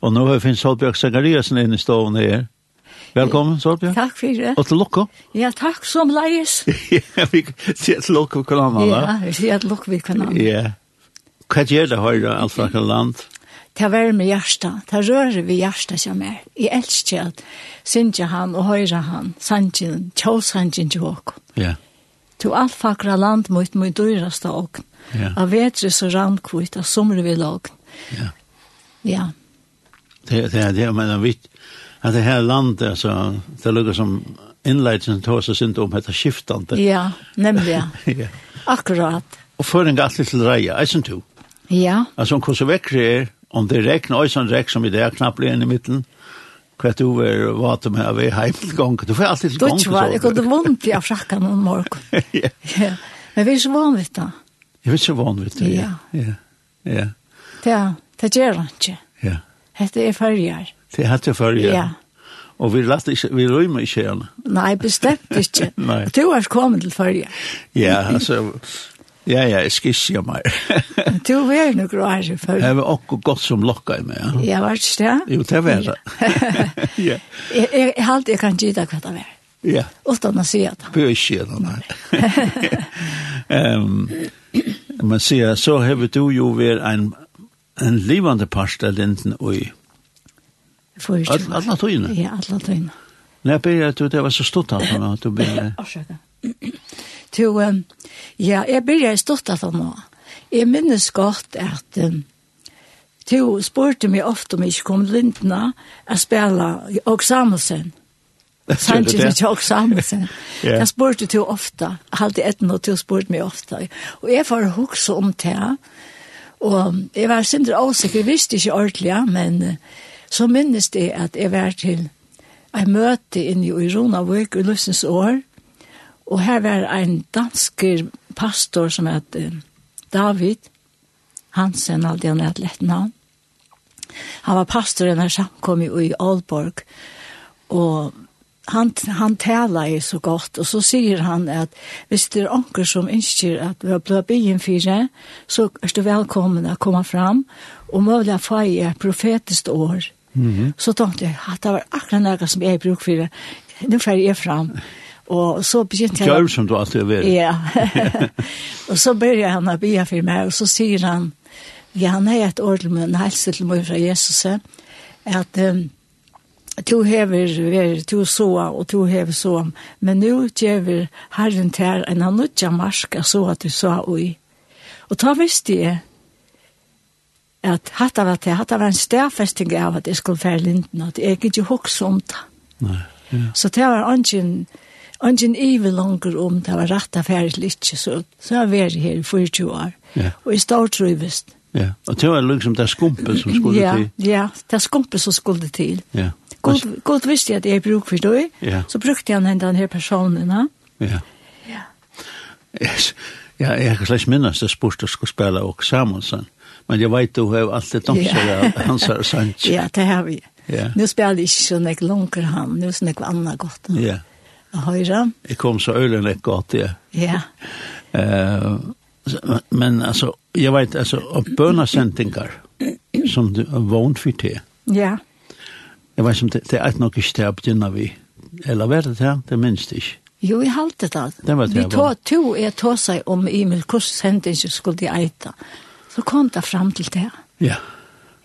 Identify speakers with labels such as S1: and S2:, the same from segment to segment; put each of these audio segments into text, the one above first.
S1: Og nå har vi finnes Solbjørg Zachariasen inne i stoven her. Velkommen, Solbjørg.
S2: Takk for det.
S1: Og til lukko.
S2: Ja, takk som leies.
S1: Ja, vi sier til lukko hvordan man
S2: Ja, jeg sier at lukk vi kan ha.
S1: Ja. Hva gjør det høyre, alt fra hvilket land?
S2: Det var med hjertet. Det rører vi hjertet som er. Jeg elsker at synger han og høyre han. Sanjen, tjå sanjen til åkken.
S1: Ja,
S2: To alt fakra land mot mot dyraste åkken.
S1: Ja.
S2: Av vetre så randkvitt, av somre vi åkken.
S1: ja.
S2: Ja,
S1: Det det det jag menar vitt att det här landet alltså det lukar som inledelsen tar sig inte om heter skiftande.
S2: ja, nemlig. ja.
S1: Ja.
S2: Akkurat.
S1: Och för en gatt till reja, är sånt du.
S2: Ja,
S1: Alltså om hur väcker är om det regnar och sån regn som i det är knappt blir i mitten. Kvart över vart med av hemgång. Du får alltid
S2: då
S1: gång.
S2: var det godt vondt i av frakkan om morgen.
S1: Ja.
S2: um Ja. Men vi er så vanvitt da.
S1: Jag vet er så van vid det.
S2: Ja.
S1: Ja. Ja.
S2: Det, det gjør han ikke.
S1: Ja.
S2: Hette er farger.
S1: Det hade för
S2: Ja.
S1: ja. Och vi låter inte vi rymmer i kärnan.
S2: Nei, bestemt ikke.
S1: Nei.
S2: Du har kommet til farger.
S1: Ja, alltså Ja, ja, jag skissar mig.
S2: Du er nok rar i farger.
S1: Det var också gott som lockar i mig. Ja.
S2: Jeg var ikke det.
S1: Jo, det var det. Ja.
S2: Jeg, jeg, jeg halte jeg kan gita hva det var.
S1: Ja,
S2: Utan å si det.
S1: bør ikke gjøre det, nei. Ehm, Man sier, så har du jo vært en, en livande parst av linten og i
S2: For ikke.
S1: all- alla tøyene.
S2: Ja, alle tøyene.
S1: Nei, jeg ber at du, det var så stort av henne at du ber.
S2: Årsøka. Du, um, ja, jeg begynner stått at han nå. Jeg minnes godt at um, du spurte meg ofte om jeg ikke kom til lindene å spille Oksamusen. Sanchez og Jok Samuelsen.
S1: Ja.
S2: Jeg spurte til ofte, halte etten og til spurte meg ofte. Og jeg får hukse om det. um Og jeg var sindre avsikker, jeg visste ikke ordentlig, men eh, så minnes det at jeg var til en møte inne i Rona Vøk i Løsens år. Og her var en dansk pastor som het eh, David Hansen, aldri han er et lett navn. Han var pastor i denne samkommet i Aalborg og han, han talar ju så gott och så säger han att hvis det är onker som inskir att vi har blivit byen fyra så är du välkommen att komma fram och möjliga få i ett profetiskt år. Så tänkte jag att det var akkurat något som jag bruk för nu får jag fram. Och så begynte jag
S1: Gjør som du alltid har vært.
S2: Ja. og så börjar han att be för mig och så säger han ja, han har ett ord till mig, en hälsa till mig från Jesus eh, att um, du hever ver du så och du hever så men nu ger Herren till er en annan marska så att du sa oj. Och ta visste jag at hatta var det, hatta var en stærfesting av at jeg skulle fære linden, at jeg ikke hukse om det.
S1: Nei.
S2: Så det var ingen, ingen evig langer om det var rett affære til ikke, så, så har jeg vært her i 24 år.
S1: Ja.
S2: Og i stort trivest.
S1: Ja. Og er det var liksom det skumpet som skulle
S2: Ja,
S1: til.
S2: ja, det er skumpe som skulle til.
S1: Ja.
S2: God, god visste jeg at jeg bruk for det,
S1: Ja.
S2: så brukte jeg den her personen. Ja.
S1: Ja. Yes. Ja, jeg kan slags minnes det spørs du skulle spille og Samuelsen. Men jeg vet du har alltid dømt seg av hans og sant.
S2: ja, det har vi.
S1: Ja.
S2: Nu spelar jag inte så mycket langer han, nu är det annat gott.
S1: Ja.
S2: Och höra,
S1: Jeg kom så ølen ikke godt, ja.
S2: ja.
S1: Eh, så- men altså, jeg vet, altså, og bønasendingar som du er vant for til.
S2: Ja,
S1: Jeg vet som det, det er ikke nok ikke til å begynne vi. Eller hva er det det? Det minst ikke.
S2: Jo, jeg halte det.
S1: Det var det
S2: Vi
S1: jeg var.
S2: tog, to er tog seg om Emil, hvordan hendte ikke skulle jeg eita. Så kom det fram til det.
S1: Ja.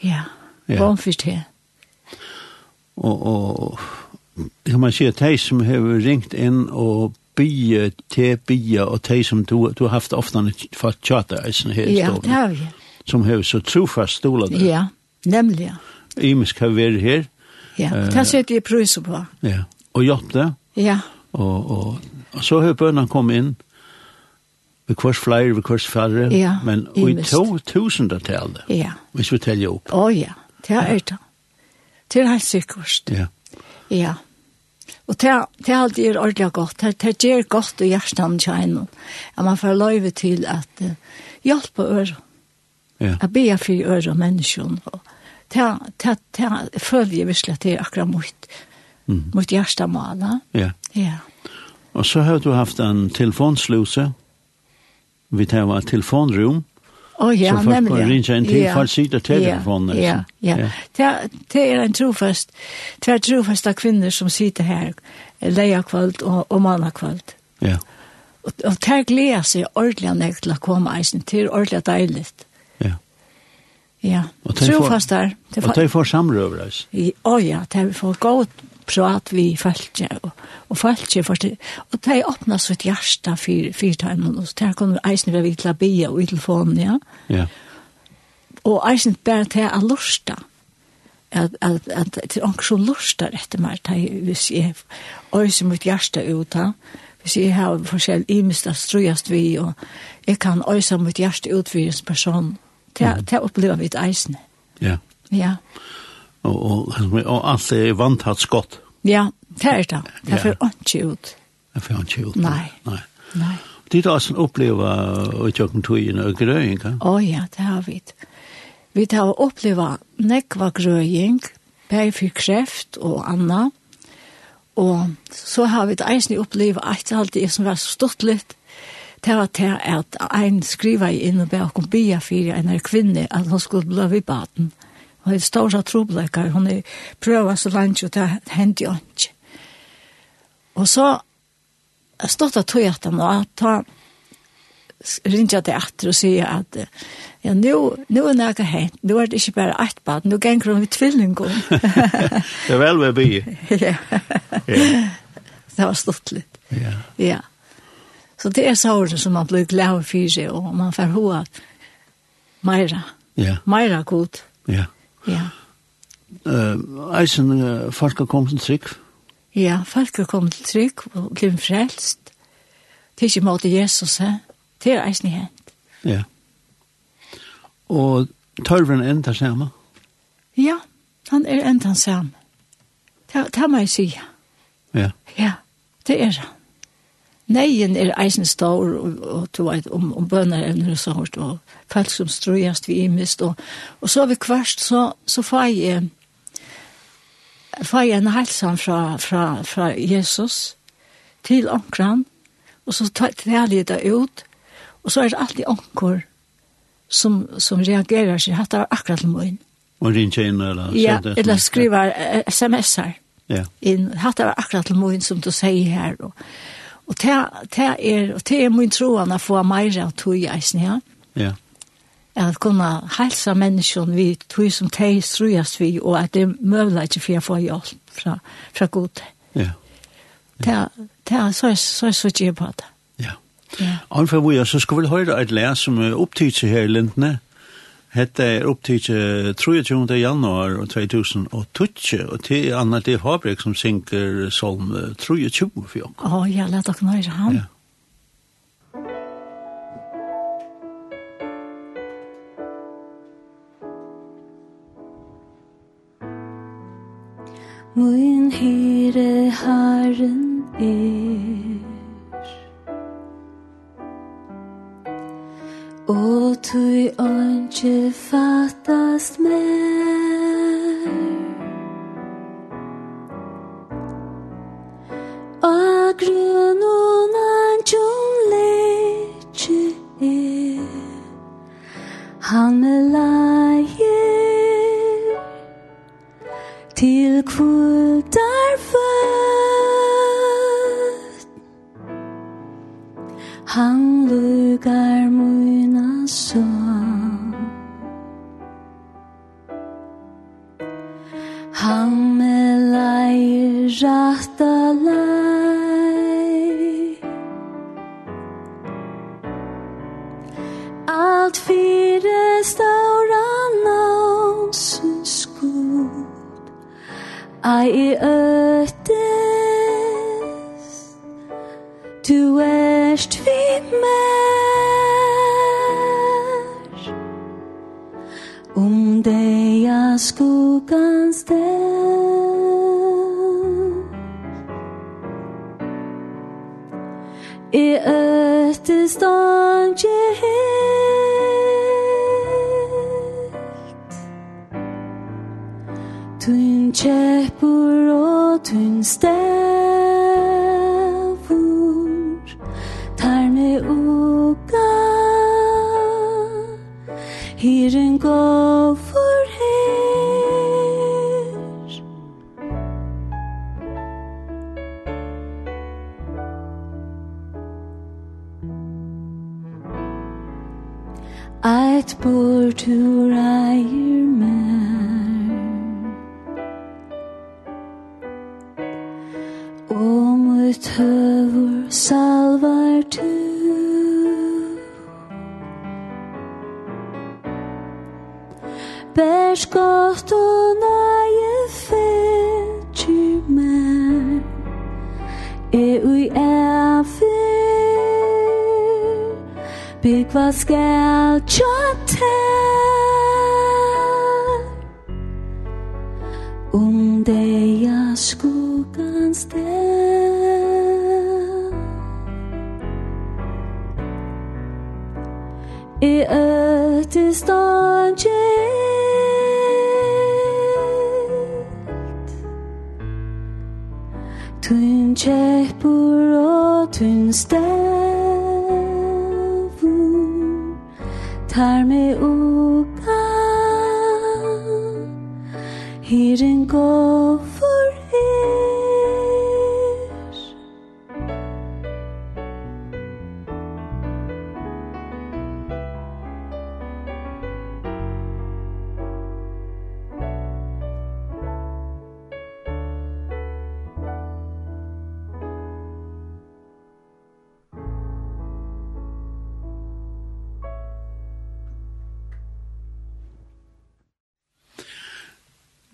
S2: Ja,
S1: Ja.
S2: ja. fyrst det.
S1: Og, og kan man si at de som har ringt inn og bygge til bygge, og de som du, du har haft ofte en fatt tjata eisen her i
S2: Ja, det
S1: stolen,
S2: har vi.
S1: som har så trofast stolet der.
S2: Ja, nemlig. ja.
S1: Imisk har vært her,
S2: Ja,
S1: Eh.
S2: og det setter jeg prøys på.
S1: ja, og hjelp det,
S2: Ja,
S1: og, og, og så har bønene kommet inn, ved hvers flere, ved hvers færre,
S2: Ja,
S1: men og i
S2: imist.
S1: to tusendertallet,
S2: ja.
S1: hvis vi teller opp.
S2: Å ja, det er det. Det er helt sikkert.
S1: Ja,
S2: Ja. Og det, det er alltid er ordentlig godt. Det, det gjør godt i hjertet kjennom. At man får løyve til at uh, hjelpe øre.
S1: ja,
S2: Jeg ber for øre og menneskene. Og det, det, det føler jeg virkelig at det er akkurat mot, mm. mot hjertet maler.
S1: ja.
S2: Ja.
S1: Og så har du haft en telefonsluse, vi tar var et telefonrum,
S2: Å ja,
S1: så folk
S2: nemlig.
S1: kan ringe en til,
S2: Ja,
S1: folk sitter til telefonen,
S2: Ja,
S1: liksom.
S2: ja. Det, det er en trofast, det er trofasta kvinner som sitter her, leia kvalt og, og manna kvalt.
S1: Ja,
S2: Og, og det gleder seg ordentlig nek til å komme eisen, det er ordentlig deilig.
S1: ja.
S2: Ja,
S1: Og det får-
S2: trofast der. det
S1: Og
S2: får-
S1: de får samrøver, altså.
S2: I- Å ja, det er for godt prat vi følte, og, og følte for det. Og det er åpnet sitt hjerte for fyrtøymen, og det kunne eisen være vidt til å bia og i telefonen, ja.
S1: Ja,
S2: Og eisen bare til å lusta. At, at, at til anker som lusta etter meg, det er hvis jeg øyser mitt hjerte ut da, hvis jeg har forskjell i mest det strøyest vi, og jeg kan øyse mitt hjerte ut for en person. Det, det opplever vi et eisen.
S1: ja.
S2: Ja,
S1: Og, og, og alt er vanthatt skott.
S2: ja det er det. Det
S1: Ja.
S2: er for ikke ut.
S1: Jeg får ikke ut.
S2: Nei.
S1: Nei.
S2: Nei.
S1: Det er også en oppleva i tjøkken togene og grøying, ja?
S2: Å ja, det har vi. Vi tar å oppleve nekva grøying, bare for kreft og anna. Og så har vi det eisen oppleve at alt det som var så stort litt, det var til at ein skriver inn og ber om bia for en er kvinne, at hun skulle bli ved baden. Hun er stora troblekker, hun er prøver så langt, og det hendte jo ikke. Og så stod det tog at han, og at han ringja til atter og sier at eh, ja, nu, nu er det hent, nu er det ikke bare ett bad, nu ganger hun i tvillingon.
S1: Det er vel ved by.
S2: ja,
S1: Ja.
S2: det var stått litt.
S1: Ja.
S2: Ja. Så det er såren som man blir glad for seg, og man får hoa meira,
S1: Ja.
S2: meira god.
S1: Ja.
S2: Ja,
S1: Eh, eisen eh, folk har kommet en trygg.
S2: ja folk er kommet til trygg og blir frelst. Det er ikke måte Jesus, he? det er eisen i hent.
S1: Ja. Og tørven enda samme.
S2: Ja, han er enda sammen. Det, det må jeg sige.
S1: Ja.
S2: Ja, det er han. Neien er eisen stor, og, og du vet, om, om bønner evner um og sånt, og folk som strøyast vi imist, og, og så vi kvart, så, så får jeg, får jeg en halsan fra, fra, fra Jesus til onkran, og så tar tar jeg det ut, og så er det alltid onker som, som reagerer seg, hatt var akkurat til min.
S1: Og ringe inn eller...
S2: Ja,
S1: sende et-
S2: eller skriver eh, sms'er
S1: Ja.
S2: inn hatt av akkurat til min som du sier her og, og det, det er og det er min troan å få meira av tog i eisen ja
S1: Ja.
S2: at kunna hälsa människan vi tog som teg strøyast vi og at det er møvla ikke for jeg får hjelp fra, fra god
S1: Ja.
S2: det, det er så så så ikke på det
S1: Ja.
S2: ja.
S1: Anfor hvor jeg så skulle vi høre et lær som er opptidse her i Lindene. Hette er opptidse 23. januar 2012, og til Anna D. Habrek som synker solm eh, 23 for jokken.
S2: Å ja, la dere nøyre han.
S1: Ja.
S3: Min hyre Herren er Og tui anki fattast mer A grunnen anjon letje er Han leier til er kvöldar fött Han lugar muna son Han me lai rata lai Alt fyrir stauran násens skuld Ai öttes Du erst vi mer Um deia skugans del I öttes dange her Tun kjeppur og tun stevur Tar me uka Hyren går for her Eit bor tur eier mer Om ut høvur salvar tu Bers gott og nøye fetjur mer E ui efir Bygg hva skal tja ter Om deia skugans del I øtest angelt Tun kjeppur og tun stavur Tar me uka Hiren går for her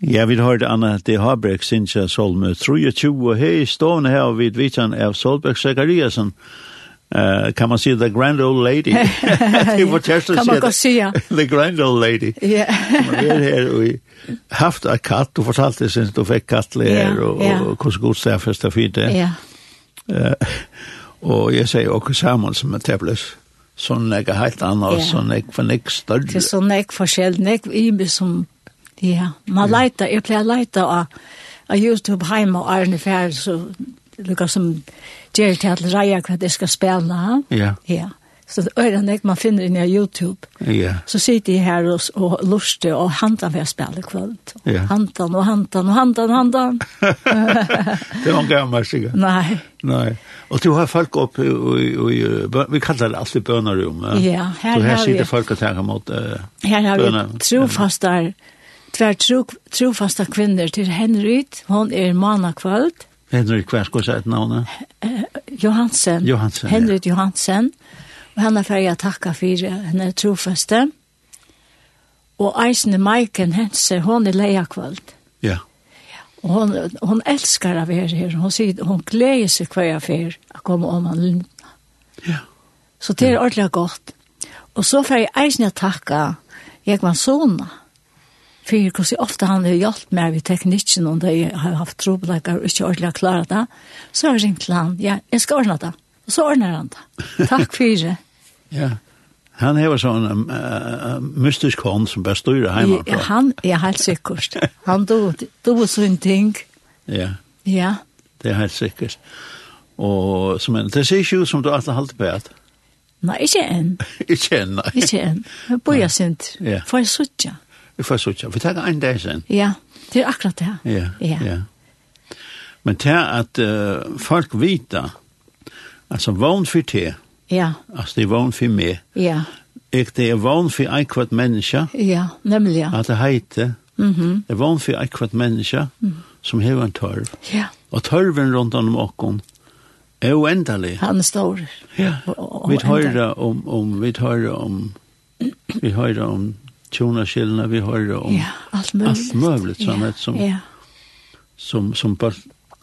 S1: Ja, vi har hørt Anna D. Haberg, Sintja Solme, 23, og hei, stående her, og vi vet han av Solberg Zakariasen, Eh, kan man si The Grand Old Lady? Det var Kjersten
S2: Kan man godt si, ja.
S1: The Grand Old Lady.
S2: Ja.
S1: Man er her, og vi haft av katt, og fortalte sin, du fikk kattler her,
S2: Ja,
S1: og
S2: ja.
S1: og hvordan god sted først og fint det.
S2: Ja.
S1: Eh, Og jeg sier også sammen som en tablet, sånn jeg er helt annet,
S2: Ja.
S1: sånn jeg for nek
S2: Det er
S1: større.
S2: så nek forskjell, nek ibe som, ja, man leita, jeg pleier leita av, av YouTube heima og Arne Fjær, så lukka som gjer til at reia hva det skal spela, ha?
S1: Ja,
S2: ja. Så det er nek man finner inn i YouTube,
S1: ja,
S2: så sitter jeg her og, og luster og hantan for jeg spela kvöld.
S1: Ja.
S2: Hantan og hantan og hantan og hantan.
S1: det var en gammel sikkert.
S2: Nei,
S1: Nei. Og du har folk opp i, i, i bø- vi kallar det alltid bønarum.
S2: Ja, her
S1: Så eh? her
S2: har vi-
S1: sitter folk og tenker mot uh,
S2: her har
S1: Bønna.
S2: vi trofastar, tver tro, trofasta kvinner til Henryt, hon er mana kvöld,
S1: Henrik Kvær, skal jeg si et navn? eh?
S2: Johansen.
S1: Johansen, ja.
S2: Henrik Johansen. Og han er ferdig å takke for henne trofeste. Og eisende Maiken Hense, hon er leia kvöld.
S1: Ja,
S2: Og hon, hon elskar av er her. Hon, sier, hon gleder seg hver jeg fer å komme om han linda.
S1: ja,
S2: Så det er ordentlig godt. Og så ferdig eisende å takke Jekman Sona. For hvordan ofte han har hjulpet meg ved teknikken, og de har haft trobeleggere og ikke ordentlig klare det, så har jeg ringt til han, ja, jeg skal ordne det. Og så ordner han det. Takk for det.
S1: ja. Han hever sånn um, uh, mystisk hånd som bare styrer hjemme.
S2: Ja, han er helt sikkert. Han doer sånne ting.
S1: Ja,
S2: Ja,
S1: det er helt sikkert. Og som en, det ser ikke ut som du alltid halte på at.
S2: nei, ikke enn.
S1: Ikke enn, nei.
S2: Ikke enn. Jeg bor jeg sint.
S1: Ja.
S2: For jeg suttja.
S1: Vi får sutja. Vi tar en dag sen.
S2: Ja, det er akkurat det.
S1: Ja,
S2: Ja.
S1: ja. Men det er at eh, folk vita, altså vogn for te,
S2: Ja,
S1: altså det er vogn for meg,
S2: ja,
S1: Ek det er vann for ein kvart menneske,
S2: ja, nemlig ja.
S1: at det heite,
S2: Mhm.
S1: det er vann for ein kvart menneske, som hever en tørv.
S2: Ja,
S1: Og tørven rundt om åkken er uendelig.
S2: han er stor.
S1: Ja, um,
S2: Og- og-
S1: vi
S2: og enda.
S1: hører om, om, vi hører om, vi hører om tjonaskillene, vi hører om,
S2: Ja, alt mulig.
S1: Alt muligt, sånn
S2: ja.
S1: at som-
S2: Ja,
S1: som, som bare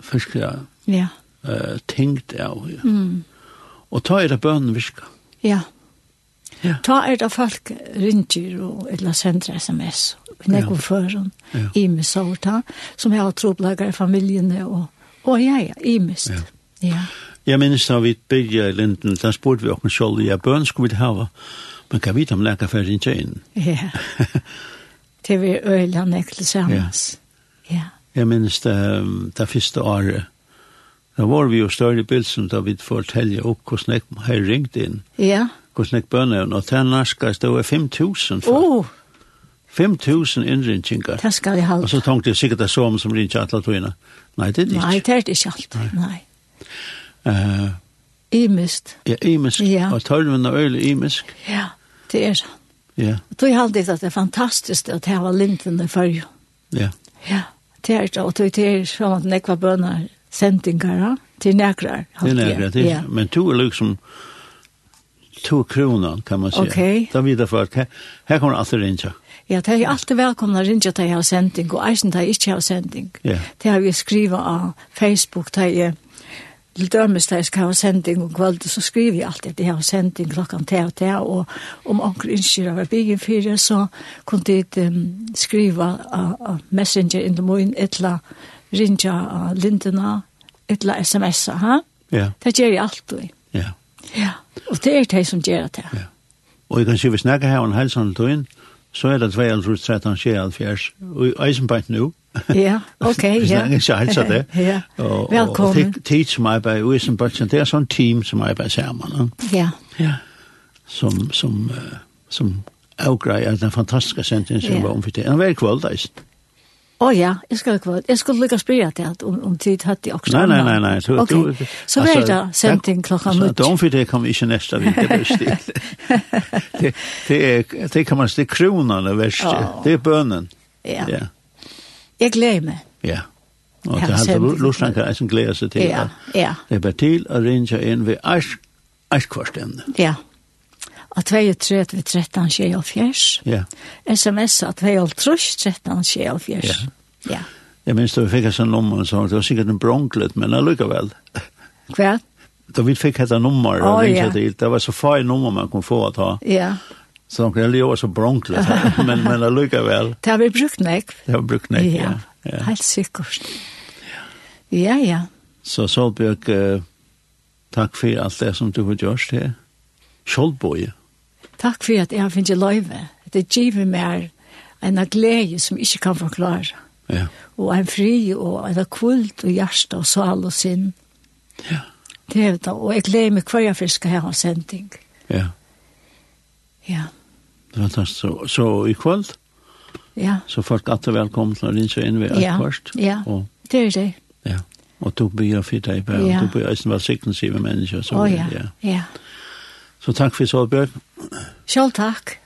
S1: først er
S2: ja,
S1: uh, tenkt av. Ja.
S2: Mm.
S1: Og ta er det bønnen virka.
S2: ja.
S1: Ja.
S2: Ta er det folk ringer og eller sender sms.
S1: Ja.
S2: Nekko føren,
S1: Ja.
S2: Imes sorta, som har trobelager i familiene og, og ja, ja, Imes.
S1: Ja.
S2: ja.
S1: Jeg minnes da vi bygde i Linden, da spurte vi oss selv, ja, bøn skulle vi hava, men um kan vi ta om lærke for sin tjejen?
S2: Ja. Det vi øyla nekkel sammans. Ja.
S1: Jeg minnes det, um, det første året, da var vi jo større bilsen da vi fortalte opp hvordan jeg har ringt inn,
S2: Ja.
S1: hvordan jeg bønner, er, og til norskast, det var 5.000 folk.
S2: Åh,
S1: 5.000 innrinkinger.
S2: det skal jeg
S1: Og så
S2: halte.
S1: tenkte jeg sikkert det er som som rinja alle togene. Nei, det er det
S2: Nei,
S1: ikke.
S2: det er det ikke alt. Nei.
S1: Uh,
S2: I mist.
S1: ja, imisk.
S2: Ja.
S1: Og tølven er øyelig imisk.
S2: Ja, det er sånn.
S1: Ja,
S2: Og tog halte jeg at det er fantastisk at det var linden i fyrju.
S1: ja.
S2: Ja, det er det. Og tog det er sånn at nekva bønner sendingar til nekrar.
S1: Det er nærkere til.
S2: Ja.
S1: Men to er liksom to kronan, kan er man si.
S2: Ok.
S1: Da vidar folk, her, her kommer alltid rinja.
S2: Ja, det er alltid velkomna å rinja til jeg har sending, og eisen til jeg ikke har sending.
S1: Ja.
S2: Det har vi skriva av Facebook til jeg, til dømes til jeg skal ha sending um om kvöld, så skriver jeg alltid at jeg har sending klokkan til og til, og um om anker innskir av byggen fire, så kunne jeg um, skriva av av Messenger in the morning, etla rinja av lindena, etla sms'a, ha?
S1: Ja,
S2: Det gjør jeg alltid.
S1: ja,
S2: Ja. Og det er det som gjør det.
S1: ja. Og jeg kan si, hvis nægge her um og en helsan til inn, så er det 22, 13, 14, 14, og eisenbeint nu.
S2: Ja, ok, ja.
S1: Vi snakker ikke helsa er det.
S2: Ja,
S1: Og- Og,
S2: velkommen.
S1: og tid, tid som arbeider i Eisenbeint, det er sånn team som arbeider sammen. Ja.
S2: Ja,
S1: Ja. Som som eh, som avgreier den fantastiske sentingen som
S2: Ja.
S1: var er omfitt. Han var i kvöld, eisen.
S2: Å ja, jeg skal ikke Jeg skulle lykke spørre til at om, om tid hatt i også.
S1: Nei, nei, nei, nei. Du,
S2: ok,
S1: du-
S2: så var
S1: altså,
S2: det sending klokka
S1: Så
S2: nødt.
S1: de för det kan vi ikke nästa vecka bäst. det, det, är, det kan man säga, det är kronan är värst.
S2: Ja.
S1: Det är bönen.
S2: Ja.
S1: Ja.
S2: Jeg gleder meg.
S1: ja. Och
S2: Ja,
S1: det hade
S2: sen-
S1: Lorsan kan eisen glädja sig till.
S2: Ja,
S1: att
S2: ja,
S1: Det är bara till att rinja in vid ask, askkvarstämne.
S2: ja. er Og 23 ved 13 skjer og fjers.
S1: Ja.
S2: SMS at 2 trus 13 skjer og fjers. Ja.
S1: Jag minns då vi fick ett sånt nummer och sa, det var säkert en bronklet, men allikevel.
S2: Hva?
S1: Då vi fick ett nummer och
S2: Åh,
S1: rinja
S2: ja.
S1: till. Det var så få nummer man kunde få att ha.
S2: Ja.
S1: Så de kunde leva så bronklet, men, men allikevel.
S2: Det har vi brukt nek.
S1: Det har brukt nek, ja. ja.
S2: Helt sikkert. Ja, ja.
S1: Så Solbjørg, eh, takk for alt det som du har gjort her. Kjoldbøye.
S2: Takk for at jeg har finnet løyve. Det giver meg en glede som jeg ikke kan forklare.
S1: Ja.
S2: og en fri og en kvult og hjerte og sal og sinn.
S1: Ja.
S2: Det er det, og jeg gleder meg hver jeg først skal ha en sending.
S1: Ja.
S2: Ja,
S1: Det var fantastisk. Så, så i kvöld,
S2: ja,
S1: så folk er alltid velkommen til å rinse inn ved
S2: Ja,
S1: Akkvart.
S2: ja.
S1: Og,
S2: det er det.
S1: ja. Og du blir for deg, Per.
S2: Ja.
S1: Ja. Du blir eisen er velsignelse med mennesker.
S2: Å
S1: som vil,
S2: ja, ja.
S1: Så takk for Solbjørg.
S2: Selv takk.